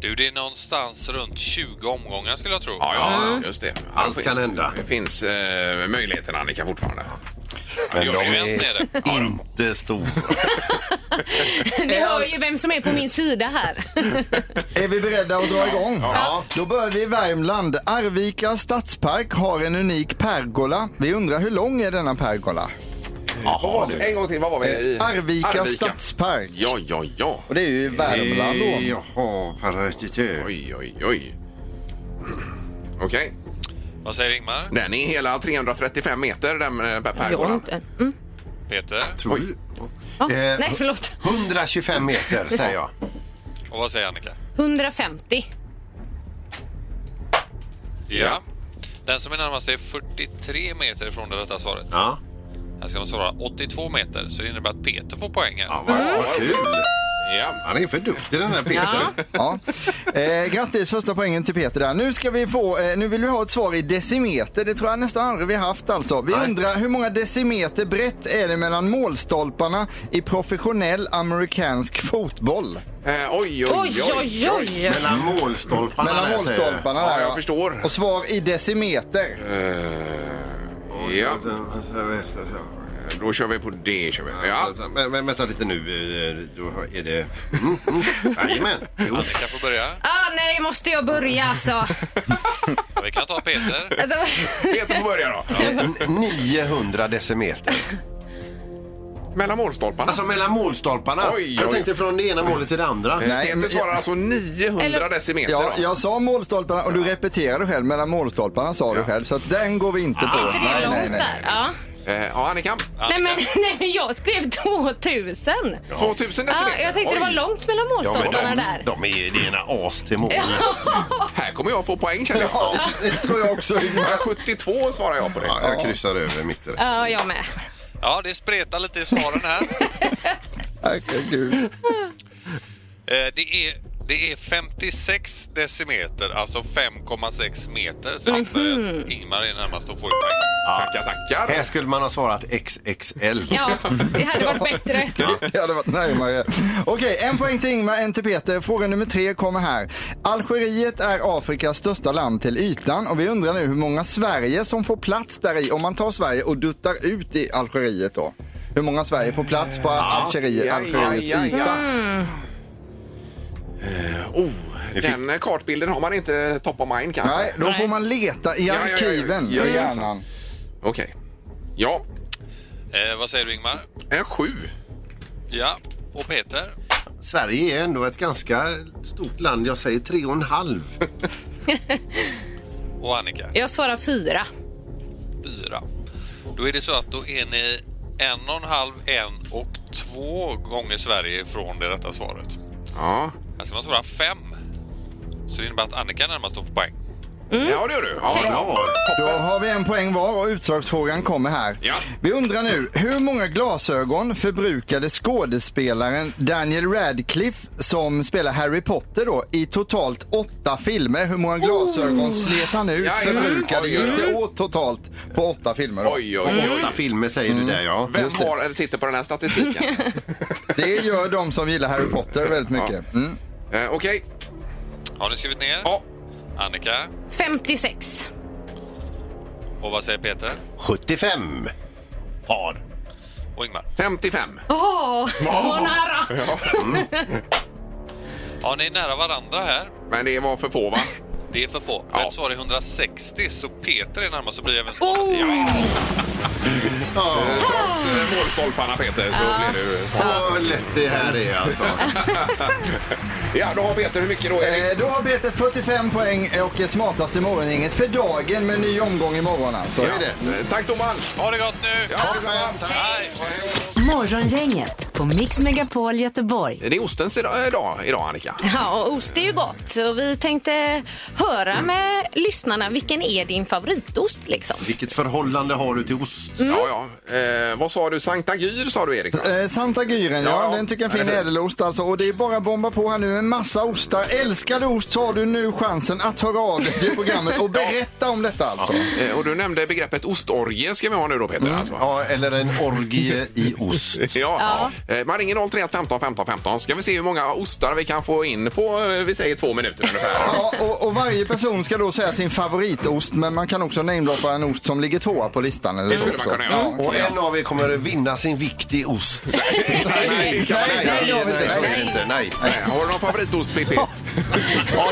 S9: Du, det är någonstans runt 20 omgångar skulle jag tro.
S1: Ja, ja, just det.
S2: Allt kan hända.
S1: Det finns eh, möjligheten Annika fortfarande.
S2: Men
S1: Ja,
S2: de
S1: det
S9: är ju
S2: är
S9: vänt
S2: inte stora.
S3: Ni hör ju vem som är på min sida här.
S4: Är vi beredda att dra igång? Ja. Då börjar vi i Värmland. Arvika stadspark har en unik pergola. Vi undrar hur lång är denna pergola?
S1: Jaha, en gång till, vad var vi
S2: Eh,
S1: i?
S4: Arvika, stadspark.
S1: Ja, ja, ja.
S4: Och det är ju i Värmland då.
S2: Jaha, parasitör.
S1: Oj, oj, oj. Okej,
S9: Vad säger Ingmar?
S1: den är hela 335 meter den eh, per pergolan.
S3: Långt. Mm.
S9: Peter?
S2: Tror du?
S3: Ja,
S2: Eh,
S3: nej, förlåt.
S2: 125 meter säger
S1: [LAUGHS]
S2: jag.
S9: Och vad säger Annika?
S3: 150.
S9: Ja. Den som är närmast är 43 meter från det rätta svaret.
S2: Ja,
S9: Här ska man svara 82 meter, så det innebär att Peter får poängen.
S2: ja vad, vad kul.
S1: Ja.
S2: Han är för duktig den här Peter.
S4: Ja. Eh, grattis första poängen till Peter där. Nu ska vi få, eh, nu vill vi ha ett svar i decimeter. Det tror jag nästan aldrig vi haft alltså. Vi undrar hur många decimeter brett är det mellan målstolparna i professionell amerikansk fotboll?
S1: [LAUGHS] Eh, oj, oj,
S3: Oj, oj, oj.
S2: Mellan målstolparna.
S4: Mellan
S2: där, säger jag.
S4: målstolparna
S1: Ja,
S4: där
S1: jag
S4: ja.
S1: förstår.
S4: Och
S1: Eh,
S4: svar i decimeter.
S1: Ja. Då kör vi på det. Kör vi. Ja.
S2: Ja. Men, men vänta lite nu. eh, Då är det... Mm, mm. Jajamän. Jo.
S9: Annika får börja.
S3: Ah, nej, måste jag börja alltså?
S9: Ja, Vi kan ta Peter.
S3: Alltså,
S1: Peter får börja då.
S2: N- 900 decimeter.
S1: Mellan målstolparna.
S2: Alltså mellan målstolparna.
S1: Oj, oj,
S2: Jag
S1: oj.
S2: tänkte från det ena målet till det andra.
S1: Eh,
S4: nej,
S1: Peter
S4: men-
S1: svarar alltså 900
S3: Eller-
S1: decimeter.
S4: Ja,
S1: va?
S4: jag sa målstolparna och du repeterade själv mellan målstolparna sa du själv. Så att den går vi inte på.
S3: inte det långt där? Ja.
S1: Eh, ja, Annika.
S3: Nej, men, [LAUGHS] nej, men jag skrev 2000. Ja.
S1: 2000 decimeter.
S3: jag tänkte det var
S1: Oj,
S3: långt mellan målstolparna där.
S2: de är det ena as till mål.
S1: Här kommer jag få poäng känner jag.
S4: Ja, det tror jag också.
S1: 72 svarar jag på det.
S2: Ja, jag kryssar över mitt i det.
S3: Ja, jag med.
S9: Ja, det spretar lite i svaren här.
S4: Herregud.
S9: Eh, Det är, det är 56 decimeter, alltså 5,6 meter. Så
S2: Mhm.
S9: att eh, Ingmar är närmast och får poäng.
S1: Tackar, tackar.
S2: Här skulle man ha svarat XXL.
S3: Ja, det hade varit bättre.
S4: Jag hade varit närmare. Okej, en poäng till Ingmar, en till Peter. Fråga nummer tre kommer här. Algeriet är Afrikas största land till ytan och vi undrar nu hur många Sverige som får plats där i om man tar Sverige och duttar ut i Algeriet då. Hur många Sverige får plats på Algeriet,
S1: aj,
S4: Algeriets
S1: aj, aj,
S4: yta?
S1: Oh, den eh, kartbilden har man inte top of mind kanske.
S4: Nej, då får man leta i
S1: Ja, ja, ja, ja.
S4: arkiven
S1: Ja,
S4: i
S1: ja,
S4: hjärnan.
S1: Okej. Ja,
S9: Eh, vad säger du Ingmar?
S1: en sju.
S9: Ja, och Peter?
S2: Sverige är ändå ett ganska stort land. Jag säger tre och en halv.
S9: Och Annika?
S3: Jag svarar fyra.
S9: Fyra. Då är det så att då är ni en och en halv, en och två gånger Sverige från det rätta svaret.
S1: Ja,
S9: Här ska man svara fem. Så det innebär att Annika närmast får poäng.
S1: ja det gör du. Ja, bra.
S4: Då har vi en poäng var och utslagsfrågan kommer här.
S1: Ja.
S4: Vi undrar nu, hur många glasögon förbrukade skådespelaren Daniel Radcliffe som spelar Harry Potter då i totalt åtta filmer? Hur många glasögon slet han ut,
S1: Oh. Ja, ja.
S4: förbrukade,
S1: Oj, oj, oj.
S4: gick det åt totalt på åtta filmer? Då?
S1: Oj, oj,
S3: Mm.
S1: oj.
S2: Åtta filmer säger du där, ja.
S1: Vem har, eller sitter på den här statistiken?
S4: Det gör de som gillar Harry Potter väldigt mycket. Mm.
S1: eh, Okej.
S9: Har ni skrivit ner?
S1: Ja.
S9: Annika?
S3: 56.
S9: Och vad säger Peter?
S2: 75 par.
S9: Och Ingmar?
S1: 55.
S3: Åh, vad nära!
S1: [LAUGHS]
S9: Ja, ni är nära varandra här.
S1: Men det var för få va?
S9: Det är för få.
S1: Ja.
S9: Rätt svar är 160, så Peter är närmast och blir även svaret.
S3: Oh.
S1: Eh, Trots eh, målstolparna Peter så blev det ju...
S2: Vad lätt det här är alltså.
S1: [LAUGHS] Ja, då har Peter hur mycket då Erik?
S4: Eh, Då har Peter 45 poäng och är smartast i morgongänget för dagen med ny omgång imorgon alltså.
S1: Ja. Eh, Tack domaren!
S9: Ha det gott nu!
S1: Ja, detsamma.
S9: Hej!
S5: Morgongänget på Mix Megapol Göteborg.
S1: det är ostens idag, eh, dag idag Annika.
S3: Ja, och ost är ju gott. Så vi tänkte höra med lyssnarna, vilken är din favoritost liksom?
S2: Vilket förhållande har du till ost?
S1: Ja, ja. Eh, vad sa du? Sankta Gyr sa
S4: [LAUGHS]
S1: du Erik? va?
S4: Eh, Santa Gyren, ja.
S1: Ja.
S4: Den tycker jag är en fin ädelost alltså. Och det är bara att bomba på här nu med massa ostar. Älskade ost så har du nu chansen att höra av dig till programmet och berätta om detta alltså.
S1: Eh, Och du nämnde begreppet ostorgie ska vi ha nu då Peter alltså.
S2: Ja, eller en orgie i ost.
S1: Ja. Eh, Man ringer 031 15 15 15 ska vi se hur många ostar vi kan få in på, eh, vi säger två minuter ungefär.
S4: Ja, och, och varje person ska då säga sin favoritost men man kan också namedroppa en ost som ligger tvåa på listan eller
S1: Det
S4: så
S1: skulle man
S4: också.
S1: kunna göra.
S2: Och en av er kommer vinna sin vikt i ost. Nej,
S4: nej, nej, det gör vi inte.
S2: så är det inte. Nej.
S1: Eh, Har du någon favoritost Pippi?
S10: Ja,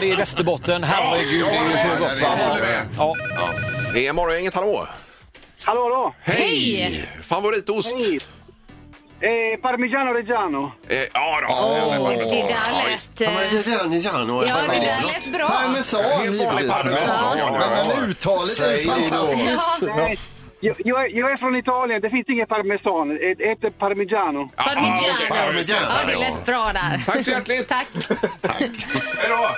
S10: det är Västerbotten. Herregud, det är ju så gott.
S1: Jag
S10: Va?
S1: håller med.
S10: Ja.
S1: Det är Morgongänget, hallå!
S8: Hallå då!
S1: Hej! Favoritost?
S8: Eh, Parmigiano Reggiano.
S1: Eh, Ja då. Ja, men-
S3: Det där
S1: Ja,
S3: lät... eh, Ja, det där
S2: Ja,
S3: lät bra.
S4: Parmesan
S1: Helt vanlig
S4: givetvis.
S1: parmesan, ja, ja,
S4: Ja,
S1: ja.
S4: men uttalet är ju
S2: Säg då.
S4: fantastiskt. Ja.
S8: Nej, jag, jag, är- jag är från Italien. Det finns ingen parmesan. Det heter Parmigiano.
S1: Ja,
S3: Parmigiano.
S1: okej, parmesan.
S3: Ja, det lät bra där.
S1: Tack så hjärtligt!
S3: Tack.
S1: Hej då!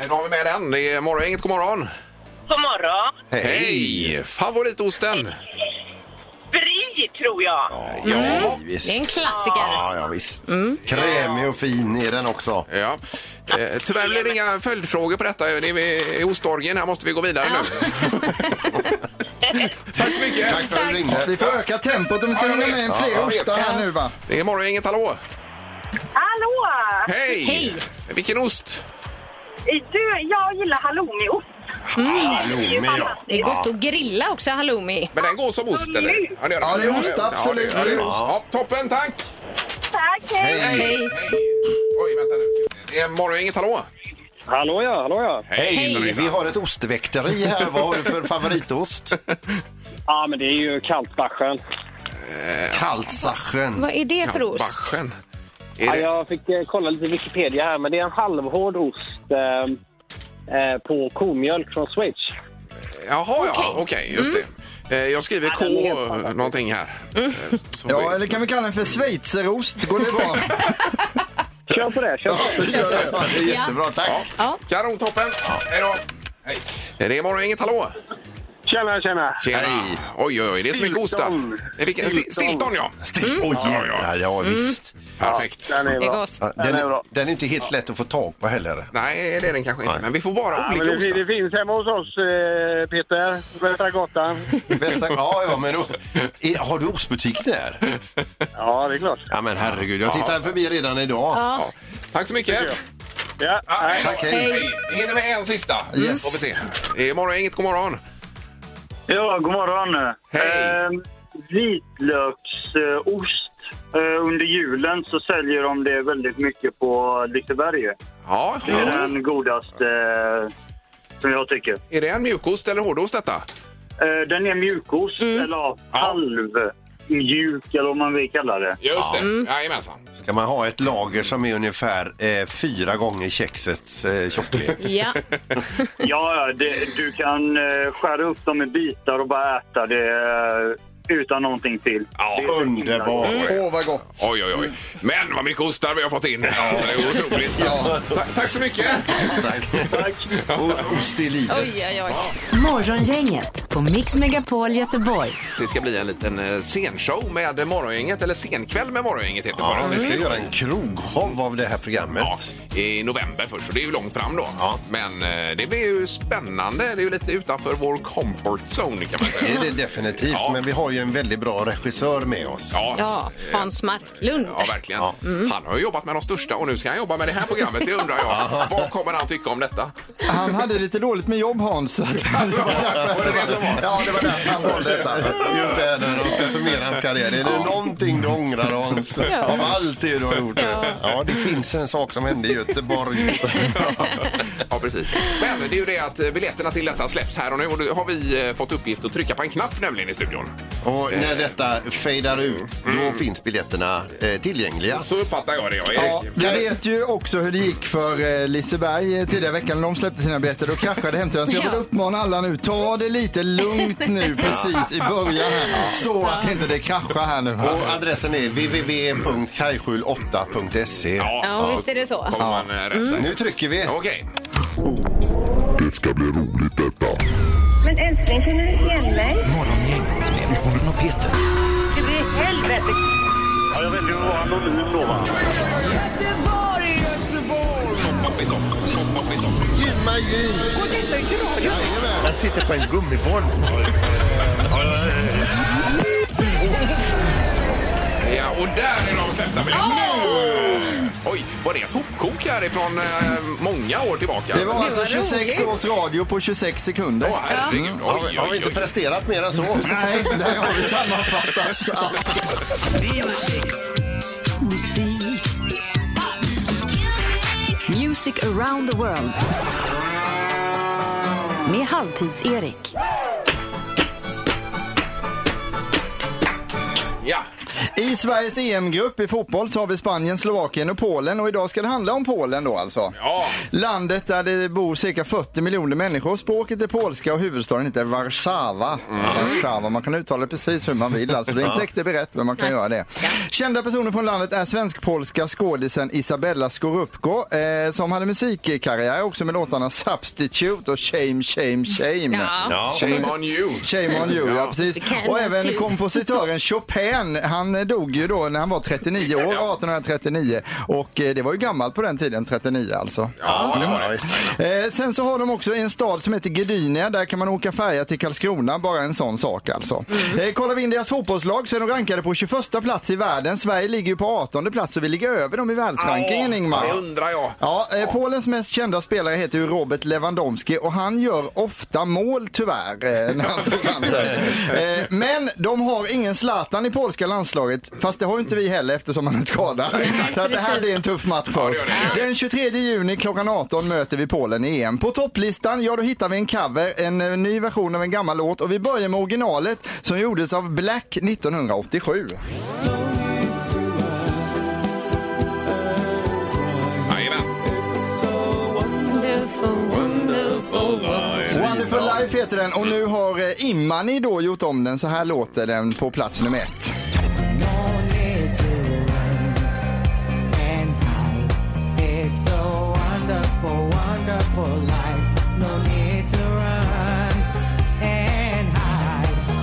S1: Eh, Då har vi med den. Det är Morgongänget, god morgon!
S6: God morgon.
S1: Hej! Favoritosten?
S6: Brie, tror jag.
S1: Ja.
S3: Mm. Det är en Mm. klassiker.
S2: ja, visst. Krämig och fin är den också.
S1: Ja. Eh, tyvärr blir det inga följdfrågor på detta. Det är ostorgen. Här måste vi gå vidare nu. Tack så mycket.
S2: Tack för att du
S4: Ja,
S2: ringde.
S4: Vi får öka tempot om vi ska
S1: Ja, jag
S4: hinna med
S1: vet.
S4: en fler
S1: Ja, jag
S4: ostar här nu va.
S1: Det är Morgongänget. Hallå!
S6: Hallå!
S1: Hej!
S3: Hej.
S1: Vilken ost?
S6: Du, jag gillar halloumiost.
S1: Halloumi, Ah, ja.
S3: Det är gott att grilla också, halloumi.
S1: Men den går som ost, eller? Ja, det, gör den.
S4: Ja, det är ost, absolut.
S1: Ja, det gör den.
S4: Det är ost.
S1: Ja, toppen, tack!
S6: Tack, hej!
S3: Hej.
S1: Oj, vänta nu. Det är Morgongänget, hallå?
S8: Hallå ja, hallå ja.
S1: Hej!
S2: Vi har ett ostväkteri här. Vad har du för favoritost?
S8: Ja, men det är ju Kaltbachen.
S2: Kaltsachen.
S3: Vad är det för ost?
S1: Bachen. Är
S8: Ja,
S1: det...
S8: jag fick eh, kolla lite Wikipedia här, men det är en halvhård ost eh, eh, på komjölk från Schweiz.
S1: Jaha, ja, okej, just det. Eh, Jag skriver K
S8: Mm. den är helt Mm. fantastisk.
S1: någonting här. Eh, så får
S4: Ja,
S1: vi-
S4: eller kan vi kalla den för schweizerost? Går det bra?
S8: Kör på det, kör på det.
S2: Gör det. Det är jättebra, tack.
S3: Ja.
S1: Kanon, toppen! Hej då! Hej. Eh, Det är Morgongänget, hallå?
S8: Tjena, tjena!
S1: Tjena! Oj, oj, oj, det är så mycket ost där.
S8: Stilton.
S1: Eh, vilken- Stil- Stilton, ja!
S2: [LAUGHS] Stil- Oj, jädrar. Ja, visst.
S1: Perfekt.
S8: Den är
S3: Det är
S8: bra.
S3: gott.
S2: Ja,
S8: Den
S2: Den,
S8: är bra.
S2: den är inte helt lätt att få tag på heller.
S1: Nej, det är den kanske inte,
S2: Nej.
S1: men vi får bara
S8: Ja,
S1: olika
S8: men det,
S1: ostar.
S8: fin- det finns hemma hos oss, eh, Peter. Västra Gotland.
S2: Bästa, ja, ja, men då, är, har du ostbutik där?
S8: Ja, det är klart.
S2: Ja, men herregud. Jag tittar förbi redan idag.
S1: Ja. [LAUGHS] Tack så mycket! Ah,
S8: Ja, nej.
S2: Tack, hej.
S1: Hej. Vi hinner med en sista.
S4: Yes.
S1: Får vi se. Det är Morgongänget, god morgon.
S8: Ja, god morgon.
S1: Hej.
S8: Ehm, vitlöksost. Eh, under julen så säljer de det väldigt mycket på Liseberg.
S1: Ja,
S8: Det är den godaste eh, som jag tycker.
S1: Är det en mjukost eller hårdost detta?
S8: Eh, den är mjukost, eller ja, halv mjuk eller vad man vill kalla det.
S1: Just det. Jajamensan.
S2: Ska man ha ett lager som är ungefär eh, fyra gånger kexets eh, tjocklek?
S3: Ja.
S8: Ja, ja, det, du kan eh, skära upp dem i bitar och bara äta det eh, utan någonting till.
S1: Ja,
S2: Underbart!
S4: Åh, vad gott.
S1: Oj, oj, oj. Men vad mycket ostar vi har fått in. Ja, det är otroligt. Ta tack så mycket.
S2: Tack. Och Ost i livet.
S3: Oj, oj, oj.
S5: Morgongänget på Mix Megapol Göteborg.
S1: Det ska bli en liten eh, scenshow med Morgongänget, eller senkväll med Morgongänget heter
S2: Ja,
S1: ja, Mm.
S2: vi ska göra en krogshow av det här programmet.
S1: Ja, i november först, så det är ju långt fram då.
S2: Ja.
S1: Men eh, det blir ju spännande. Det är ju lite utanför vår comfort zone kan man
S2: Det
S1: [LAUGHS] säga.
S2: är det definitivt,
S1: Ja.
S2: men vi har ju en väldigt bra regissör med oss.
S3: Ja, Hans Marklund.
S1: Ja, verkligen. Han har ju jobbat med de största och nu ska han jobba med det här programmet. Det undrar [LAUGHS] jag. Vad kommer han tycka om detta?
S4: Han hade lite dåligt med jobb, Hans. så
S1: [LAUGHS]
S4: att-
S1: Var det det som var?
S2: Ja, det var därför han valde detta. Just det, här när de ska summera hans karriär. Är det någonting du ångrar Hans? Av allt det du har gjort? Ja, det finns en sak som hände i Göteborg.
S1: Ja, precis. Men det är ju det att eh, biljetterna till detta släpps här och nu och då har vi eh, fått uppgift att trycka på en knapp nämligen i studion.
S2: Och när detta fejdar ut, då finns biljetterna eh, tillgängliga.
S1: Så uppfattar jag det, jag, Erik.
S4: Ja, vi vet ju också hur det gick för eh, Liseberg eh, tidigare i veckan när de släppte sina biljetter. Då kraschade hemsidan. Så jag vill
S3: Ja.
S4: uppmana alla nu, ta det lite lugnt nu
S1: [LAUGHS]
S4: precis i början här. Så att inte det kraschar här nu.
S2: Och adressen är www.kajskjul8.se.
S3: Ja, visst är det Mm. så.
S1: Kommer man eh, rätt där.
S2: Nu trycker vi.
S1: Okej.
S6: Men älskling, känner du inte igen mig?
S10: Morgongänget med Morgon och Peter.
S6: Du är helvete!
S8: Ja, jag väljer att vara anonym då, va?
S2: Gymma ljus! Jajamän, Jag sitter på en gummiboll.
S1: Ja, och där är de släppta biljetterna. Oj, var det ett hopkok här ifrån eh, många år tillbaka?
S4: Det var alltså
S3: var
S4: 26
S3: roligt.
S4: års radio på 26 sekunder.
S1: Åh, herregud. Oj,
S2: Har vi-
S1: oj,
S2: Har vi
S1: oj,
S2: inte presterat mer än så?
S4: Nej, där har vi sammanfattat allt.
S5: Music around the world. Med Halvtids-Erik.
S1: Ja.
S4: I Sveriges EM-grupp i fotboll så har vi Spanien, Slovakien och Polen och idag ska det handla om Polen då alltså.
S1: Ja.
S4: Landet där det bor cirka 40 miljoner människor. Språket är polska och huvudstaden heter Warszawa. Warszawa. Man kan uttala det precis hur man vill. Alltså, det är inte säkert det blir rätt, men man kan göra det. Kända personer från landet är svensk-polska skådisen Isabella Skorupko eh, som hade musikkarriär också med låtarna Substitute och Shame, Shame, Shame.
S3: Ja.
S1: Shame on you. [LAUGHS]
S4: Shame on you, ja, precis.
S3: kan
S4: Och
S3: man
S4: även
S3: tro.
S4: kompositören Chopin, han han eh, dog ju då när han var 39 år, 1839. Och eh, det var ju gammalt på den tiden, 39 alltså.
S1: Ja, det var det.
S4: Eh, sen så har de också en stad som heter Gdynia. Där kan man åka färja till Karlskrona. Bara en sån sak alltså. Eh, kollar vi in deras fotbollslag så är de rankade på 21 plats i världen. Sverige ligger ju på 18 plats så vi ligger över dem i världsrankingen Ingmar.
S1: Det undrar jag.
S4: Ja, eh, Polens mest kända spelare heter ju Robert Lewandowski och han gör ofta mål tyvärr eh, när han försvann sig. eh, Men de har ingen Zlatan i polska landslaget, fast det har ju inte vi heller eftersom han är skadad. Så att det här blir en tuff match för oss. Den 23 juni klockan 18 möter vi Polen i EM. På topplistan, ja då hittar vi en cover, en eh, ny version av en gammal låt och vi börjar med originalet som gjordes av Black 1987.
S1: Jajamän.
S3: Wonderful, wonderful world.
S4: Wonderful Life heter den och nu har eh, Imani då gjort om den. Så här låter den på plats nummer ett.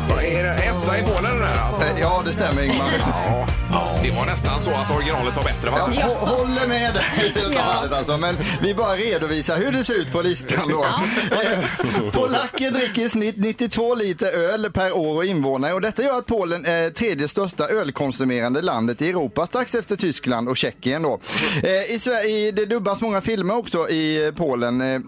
S1: Vad Är det etta i Polen den här? alltså?
S4: Eh, Ja, det stämmer Ingmar.
S1: Ja, ja. Det var nästan så att originalet var bättre va?
S4: Jag hå- håller med dig i det här fallet alltså, men vi bara redovisar hur det ser ut på listan då. Eh, Polacker dricker i snitt 92 liter öl per år och invånare och detta gör att Polen är tredje största ölkonsumerande landet i Europa, strax efter Tyskland och Tjeckien då. Eh, I Sverige, det dubbas många filmer också i eh, Polen. eh,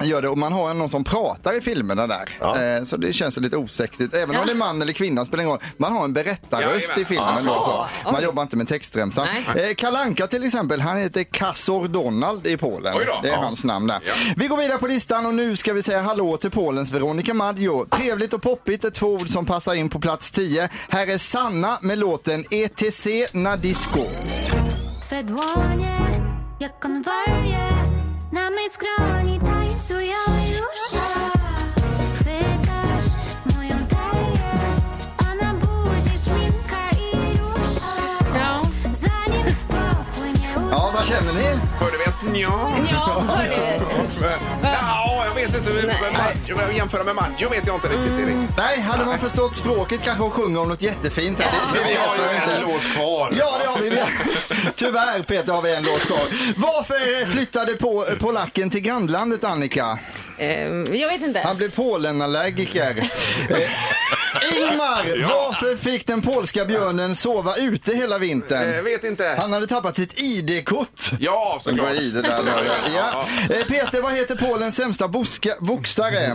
S4: Gör det, och man har någon som pratar i filmerna där. Eh, så det känns lite osexigt. Även om det är man eller kvinna spelar ingen roll. Man har en berättarröst
S1: Jajamän.
S4: i filmen. Då, så. Man
S3: Oj.
S4: jobbar inte med textremsan.
S3: Nej.
S4: Eh, Kalanka till exempel, han heter Kassor Donald i Polen.
S1: Oj då.
S4: Det är
S1: Ja.
S4: hans namn där.
S1: Ja.
S4: Vi går vidare på listan och nu ska vi säga hallå till Polens Veronica Maggio. Trevligt och poppigt är två ord som passar in på plats 10. Här är Sanna med låten E ETC na disco.
S11: Twe dłonie, jak konwalie Na mej skroni tańcują już Chwytasz moją talię A na buzi szminka i róż
S3: Ja.
S11: Zanim popłynie łza
S4: Ja, vad känner ni?
S1: Hörde vi ett ja?
S3: Ja, hörde
S1: Ja, jag vet inte. Men Maggio- Jämföra med Maggio vet jag inte riktigt. Erik.
S4: Nej, hade man förstått språket kanske hon sjunger om något jättefint här. Det- det
S2: Vi
S4: vet
S2: har ju
S4: jag inte.
S2: en låt kvar.
S4: Ja, det har vi. Tyvärr Peter har vi en låt kvar. Varför flyttade på, eh, polacken till grannlandet Annika?
S3: Eh, Jag vet inte.
S4: Han blev Polenallergiker. Eh, Ingmar, varför fick den polska björnen sova ute hela
S1: Eh,
S4: vintern?
S1: Vet inte.
S4: Han hade tappat sitt ID-kort.
S1: Ja,
S4: Det var
S1: såklart.
S4: ID där.
S1: [LAUGHS]
S4: var det. Ja. Eh, Peter, vad heter Polens sämsta boska,
S1: Mm.
S4: boxare?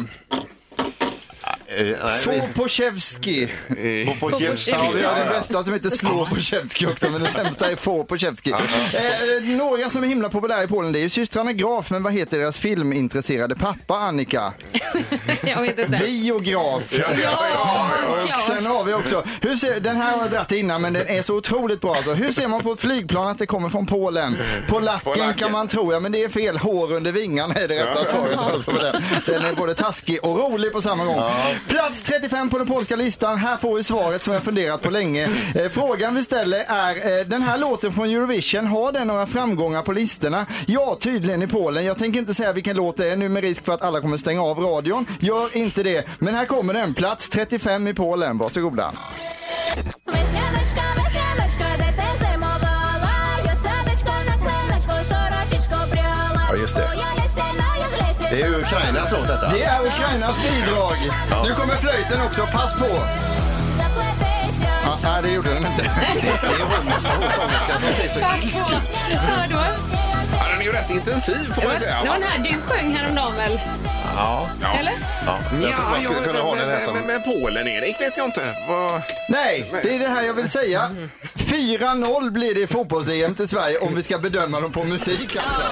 S2: Eh, nej, vi-
S4: Fopochevski.
S1: Eh,
S2: på- på Kjellstad
S4: Ja,
S2: har
S4: vi har
S2: det
S4: den
S2: bästa.
S4: bästa som heter Slå på Tjevskij också, men den sämsta är Få på Tjevskij. Eh, eh, några som är himla populära i Polen, det är ju systrarna Graf, men vad heter deras filmintresserade pappa, Annika?
S3: Jag vet inte.
S4: Biograf. Och
S3: Klart.
S4: sen har vi också, hur ser, den här har jag dragit innan men den är så otroligt bra alltså. Hur ser man på ett flygplan att det kommer från Polen? Polacken,
S1: Polacken.
S4: kan man tro, ja men det är fel. Hår under vingarna är det rätta svaret alltså på den. Den är både taskig och rolig på samma gång. Plats 35 på den polska listan, här får vi svaret som jag funderat på länge. Eh, Frågan vi ställer är, eh, den här låten från Eurovision, har den några framgångar på listorna? Ja, tydligen i Polen. Jag tänker inte säga vilken låt det är nu med risk för att alla kommer stänga av radion. Gör inte det. Men här kommer den, plats 35 i Polen. Varsågoda.
S11: Weśniadeczka, weśniadeczka, detę zajmowała Ja sadeczko na kleneczko, soraczyczko brała
S2: Ja, just det.
S11: Bo ja lesyna, ja z lesy
S2: Det är ju Ukrainas låt detta.
S4: Det är Ukrainas bidrag. Nu kommer flöjten också, pass på.
S11: zapletysia
S4: Ah, nej, det gjorde den inte.
S2: Det är hon, hon sångerskan som ser så ilsk ut.
S3: Ja, det var-
S1: Ja, den är ju rätt intensiv får
S3: det
S1: man
S3: var-
S1: ju säga.
S3: det var den här du sjöng häromdagen väl?
S2: Ja.
S3: Eller?
S2: Ja, jag tror man skulle kunna ha den här
S1: men, men,
S2: som...
S1: men Polen, Erik, vet jag inte. Vad...
S4: Nej, det är det här jag vill säga. 4-0 blir det i fotbolls-EM till Sverige om vi ska bedöma dem på musik alltså.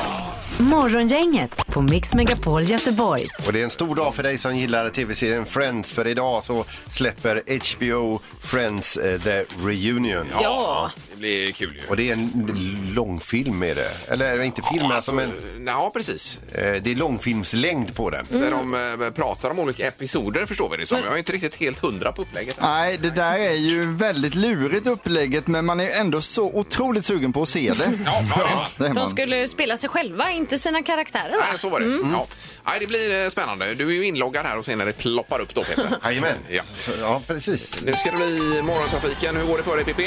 S5: Morgongänget på Mix Megapol Göteborg.
S2: Och det är en stor dag för dig som gillar tv-serien Friends för idag så släpper HBO Friends eh, The Reunion.
S3: Ja.
S1: Det blir kul ju.
S2: Och det är en långfilm är det. Eller inte film, men alltså, men
S1: Ja, precis.
S2: eh, det är långfilmslängd på den.
S1: Där de eh, pratar om olika episoder förstår vi det som. Jag är inte riktigt helt hundra på upplägget.
S4: Nej, det där är ju väldigt lurigt upplägget men man är ju ändå så otroligt sugen på att se det.
S1: Ja, ja, det är man.
S4: Det är
S3: De
S4: man.
S3: skulle spela sig Alltså, själva, inte sina karaktärer
S1: Nej,
S3: va?
S1: så var det.
S4: Mm.
S1: Ja. Nej, det blir eh, spännande. Du är ju inloggad här och ser när det ploppar upp då Peter.
S4: [LAUGHS]
S2: Jajamän.
S1: Ja.
S2: Ja, precis.
S1: Nu ska det bli morgontrafiken. Hur går det för dig PP?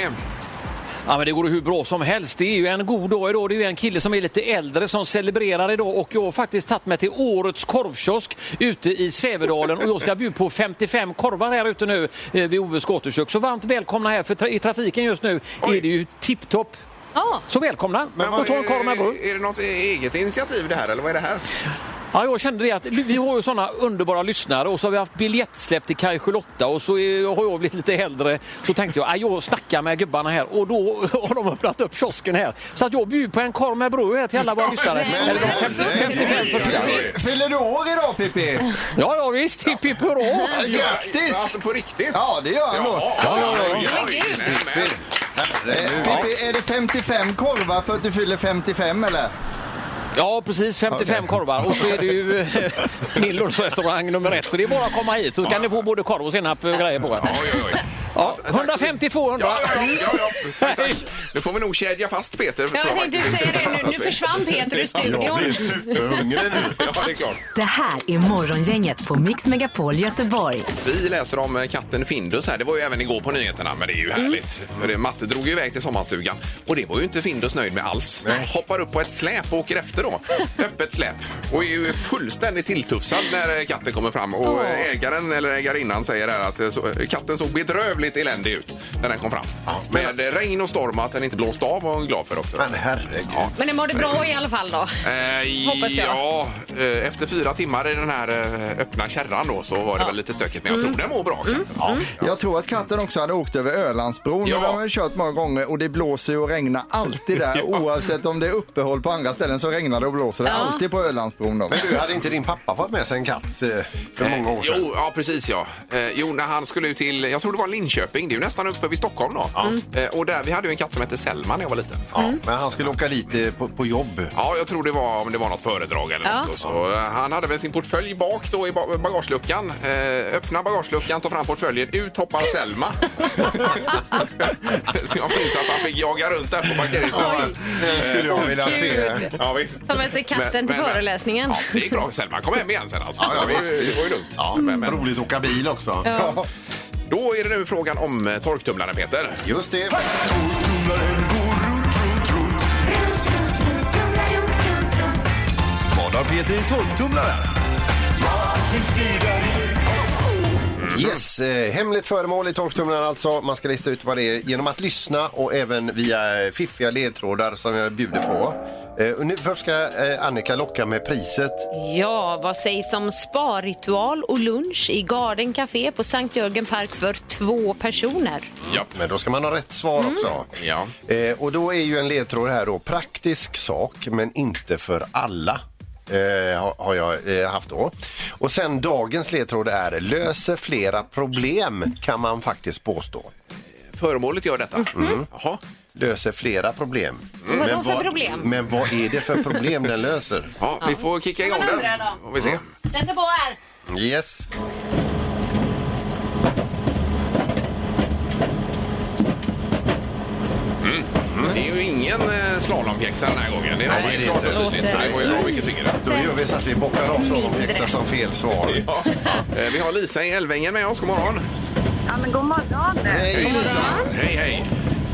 S10: Ja, men det går ju hur bra som helst. Det är ju en god dag idag. Det är ju en kille som är lite äldre som celebrerar idag och jag har faktiskt tagit mig till årets korvkiosk ute i Sävedalen och jag ska bjuda på 55 korvar här ute nu eh, vid Oves gatukök. Så varmt välkomna här för tra- i trafiken just nu är det ju tipptopp. Så välkomna! och ta en korv med bröd.
S1: är, är det något eget initiativ det här eller vad är det här?
S10: Ja, jag kände det att vi har ju sådana underbara lyssnare och så har vi haft biljettsläpp till Kaj Charlotta och så är- har jag blivit lite äldre. Så tänkte jag, "Ah, jag snackar med gubbarna här och då [LAUGHS] har de öppnat upp kiosken här. Så att jag bjuder på en korv med bröd här till alla våra lyssnare. Eller de fem- 55 första.
S4: Fyller du år idag Pippi?
S10: Ja, ja visst. Hipp hipp hurra!
S4: Grattis!
S1: Alltså på riktigt?
S4: Ja, det gör han då.
S1: ja, ja,
S4: ja.
S1: Jajamän.
S4: Eh, Pippi, är det 55 korvar för att du fyller 55 eller?
S10: Ja, precis. 55 korvar. Och så är det ju [LAUGHS] eh, min lunchrestaurang nummer ett. Så det är bara att komma hit så kan ni få både korv och senap och grejer på. Ja, 150-200.
S1: Ja, ja, ja, ja, ja. Tack. Nu får vi nog kedja fast Peter. tror
S3: Jag tänkte
S1: faktiskt.
S3: säga det, nu, nu försvann Peter ur
S1: Ja,
S3: studion.
S1: jag blir superhungrig nu. Ja, det är klart.
S5: Det här är Morgongänget på Mix Megapol Göteborg.
S1: Vi läser om eh, katten Findus här. Det var ju även igår på nyheterna, men det är ju
S3: Mm.
S1: härligt. För det- Matte drog ju iväg till sommarstugan och det var ju inte Findus nöjd med alls. Hoppar upp på ett släp och åker
S3: [LAUGHS]
S1: efter då. Öppet släp. Och är ju fullständigt tilltufsad när eh, katten kommer fram. Och eh, ägaren eller ägarinnan säger här att eh, så, eh, katten såg bedrövligt eländig ut när den kom fram. Med eh, regn och storm och att den inte blåste av var hon glad för också.
S2: Men herregud.
S1: Ja.
S3: Men det mådde bra i alla fall då.
S1: Eh,
S3: Hoppas jag.
S1: Ja, eh, efter fyra timmar i den här eh, öppna kärran då så var det väl lite stökigt. Men jag
S3: Mm.
S1: tror den mår bra. katten. Ja.
S4: Jag tror att katten också hade åkt över Ölandsbron.
S1: Ja.
S4: Ja. Den har vi kört många gånger och det blåser ju och regnar alltid
S2: [LAUGHS]
S4: där. Oavsett om det är uppehåll på andra ställen så regnar det och blåser. Det
S3: Ja.
S4: alltid på Ölandsbron. Då.
S2: Men du, hade inte din pappa fått med sig en katt eh, för många år sedan?
S1: Jo, ja precis ja. Eh, jo, när han skulle ut till, jag tror det var Linköping, det är ju nästan uppe vid Stockholm då. Eh, och där, vi hade ju en katt som hette Selma när jag var liten.
S2: Ja, men han skulle åka dit eh, på, på jobb.
S1: Ja, jag tror det var om det var något föredrag eller
S3: Ja.
S1: något. Och Så, eh, han hade väl sin portfölj bak då i ba- bagageluckan. Eh, öppna bagageluckan, ta fram portföljen, ut hoppar Selma. [LAUGHS] så jag minns att han fick jaga runt där på parkeringsplatsen.
S2: Det skulle jag vilja se.
S1: Ja, visst.
S3: Ta med sig katten
S1: Men-
S3: till
S1: men- men-
S3: föreläsningen.
S1: Ja, det gick bra för Selma. Kom hem igen sen alltså.
S2: Ja, ja,
S1: det, var ju, det var ju lugnt. Ja, men, men.
S2: Roligt att åka bil också.
S1: Då är det nu frågan om eh, torktumlaren, Peter.
S2: Just det.
S12: Vad har Peter i torktumlaren?
S2: Yes, eh, hemligt föremål i torktumlaren alltså. Man ska lista ut vad det är genom att lyssna och även via eh, fiffiga ledtrådar som jag bjuder på. Eh, och nu först ska eh, Annika locka med priset.
S3: Ja, vad sägs om sparritual och lunch i Garden Café på Sankt Jörgen Park för två personer?
S1: Ja.
S2: Men då ska man ha rätt svar också.
S1: Ja.
S2: Eh, och då är ju en ledtråd här då praktisk sak men inte för alla. Eh, har- har jag eh, haft då. Och sen dagens ledtråd är löser flera problem kan man faktiskt påstå.
S1: Föremålet gör detta.
S2: Mhm.
S1: Mm. Jaha.
S2: Löser flera problem.
S3: Vadå för problem?
S2: Men vad är det för problem den löser?
S1: Ja, Vi får kicka igång
S3: Man undrar
S1: den.
S3: då.
S1: Och vi ser.
S3: Sätter på här!
S2: Yes.
S1: Mm. Det är ju ingen eh, slalompjäxa den här gången. Det har
S2: Nej,
S1: man ju
S2: det är
S1: klart och
S2: inte. Mm.
S1: tydligt. Det var ju bra mycket tyngre.
S2: Då gör vi så att vi bockar av slalompjäxan som fel svar.
S1: [LAUGHS] Ja. Eh, Vi har Lisa i Älvängen med oss. God morgon.
S6: Ja, men god morgon.
S1: Hej Lisa. Hej, hej.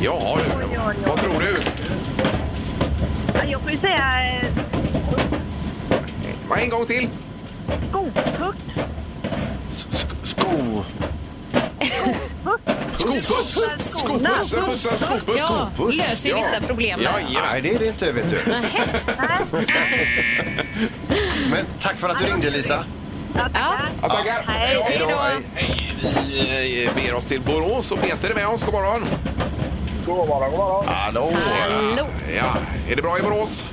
S1: Ja, du. Vad tror du?
S6: Ja, Jag får ju säga eh,
S1: Va, En gång till.
S6: skopuck.
S2: Sko...
S1: Skopuss.
S6: Skorna.
S1: Skopuss. Skopuss. Skopuss.
S3: Ja, löser ju
S1: Ja.
S3: vissa problem.
S1: Ja,
S3: där.
S2: Nej,
S1: ja.
S2: det är det inte vet du. Men tack för att du ringde Lisa.
S3: Ja.
S1: Ja, tackar.
S6: Hej.
S1: Hej då.
S3: Hej
S1: Hej. Vi eh, beger oss till Borås och Peter är med oss. God morgon.
S8: God morgon, god morgon.
S1: Hallå.
S3: Hallå.
S1: Ja, är det bra i Borås?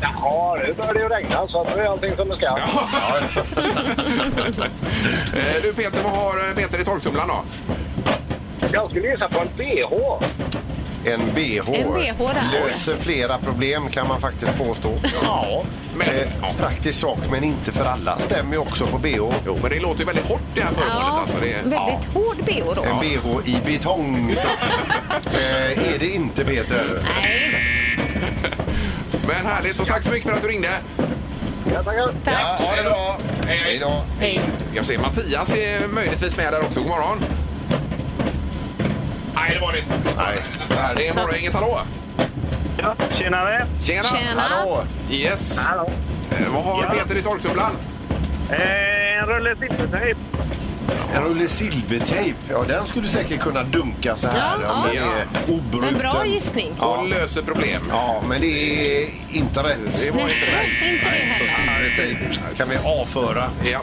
S8: Ja, nu börjar det ju regna så att nu är allting som det ska.
S1: Eh, Du Peter, vad har eh, Peter i torktumlaren då?
S8: Jag skulle gissa på en bh.
S2: En bh.
S3: En BH där.
S2: Löser flera problem kan man faktiskt
S1: [LAUGHS]
S2: påstå.
S1: Ja, men,
S2: Eh,
S1: ja.
S2: praktisk sak men inte för alla. Stämmer ju också på bh.
S1: Jo, men det låter ju väldigt hårt det här föremålet.
S3: Ja,
S1: Alltså, det, ja.
S3: väldigt hård bh då.
S2: En bh i betong. eh, är det inte Peter?
S3: Nej,
S1: Men härligt och tack så mycket för att du ringde. Ja, tackar.
S3: Tack.
S1: Ha det bra. Hej, hej. då.
S3: Hej.
S1: Ska se, Mattias är möjligtvis med där också. God morgon. Nej, det var det inte. Nej. Nästa här. Det är Morgongänget. Hallå!
S8: Ja, tjenare!
S1: Tjena!
S8: Tjena.
S1: Hallå! Yes. Hallå. Vad har Peter i torktumlaren?
S8: Eh, en rulle silvertejp.
S2: En rulle silvertejp. Ja, den skulle du säkert kunna dunka så här
S3: Ja,
S2: om
S3: ja.
S2: den är obruten.
S3: En bra gissning.
S1: Och löser problem.
S2: Ja, men det är inte rätt.
S1: Det var inte
S3: rätt. inte det
S2: Så
S3: heller.
S2: silvertejp kan vi avföra.
S1: Ja.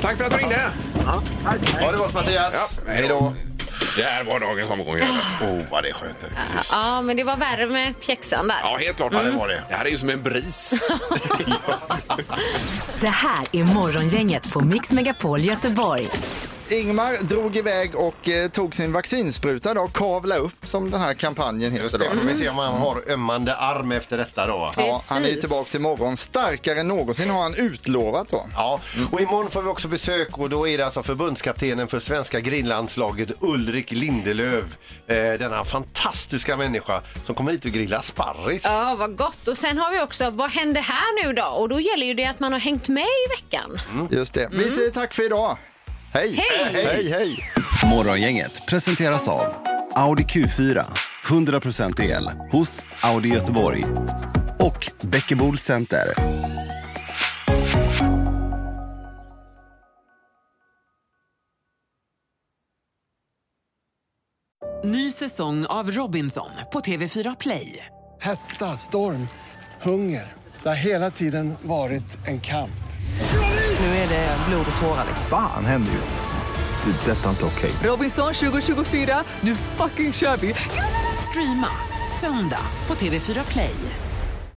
S1: Tack för att du ringde!
S2: Ha det gott Mattias.
S1: Ja, hej då. Där var dagens omgång. Åh, oh, vad det skönt.
S3: Ja, men det var värre med pjäxan där.
S1: Ja, helt klart vad det var det. Det här är ju som en bris.
S5: Det här är Morgongänget på Mix Megapol Göteborg.
S4: Ingmar drog iväg och eh, tog sin vaccinspruta då, Kavla upp som den här kampanjen heter.
S2: Just
S4: Då.
S2: det, får vi se om han har ömmande arm efter detta då.
S4: Mm. Ja, han är ju tillbaka imorgon. Starkare än någonsin har han utlovat då.
S2: Ja, och imorgon får vi också besök och då är det alltså förbundskaptenen för svenska grilllandslaget Ulrik Lindelöf. Eh, denna fantastiska människa som kommer hit och grillar sparris.
S3: Ja, vad gott. Och sen har vi också, vad händer här nu då? Och då gäller ju det att man har hängt med i veckan.
S2: Mm.
S4: Just det. Vi säger tack för idag. Hej!
S3: Mm. Hej!
S4: Hej, hej!
S13: Morgongänget presenteras av Audi Q4, 100% el hos Audi Göteborg och Bäckebol Center.
S14: Ny säsong av Robinson på TV4 Play.
S15: Hetta, storm, hunger. Det har hela tiden varit en kamp.
S14: Nu är det blod och tårar. liksom.
S16: Fan händer just nu. Det. är Detta är inte okej.
S14: Robinson 2024, nu fucking kör vi! Streama söndag på TV4 Play.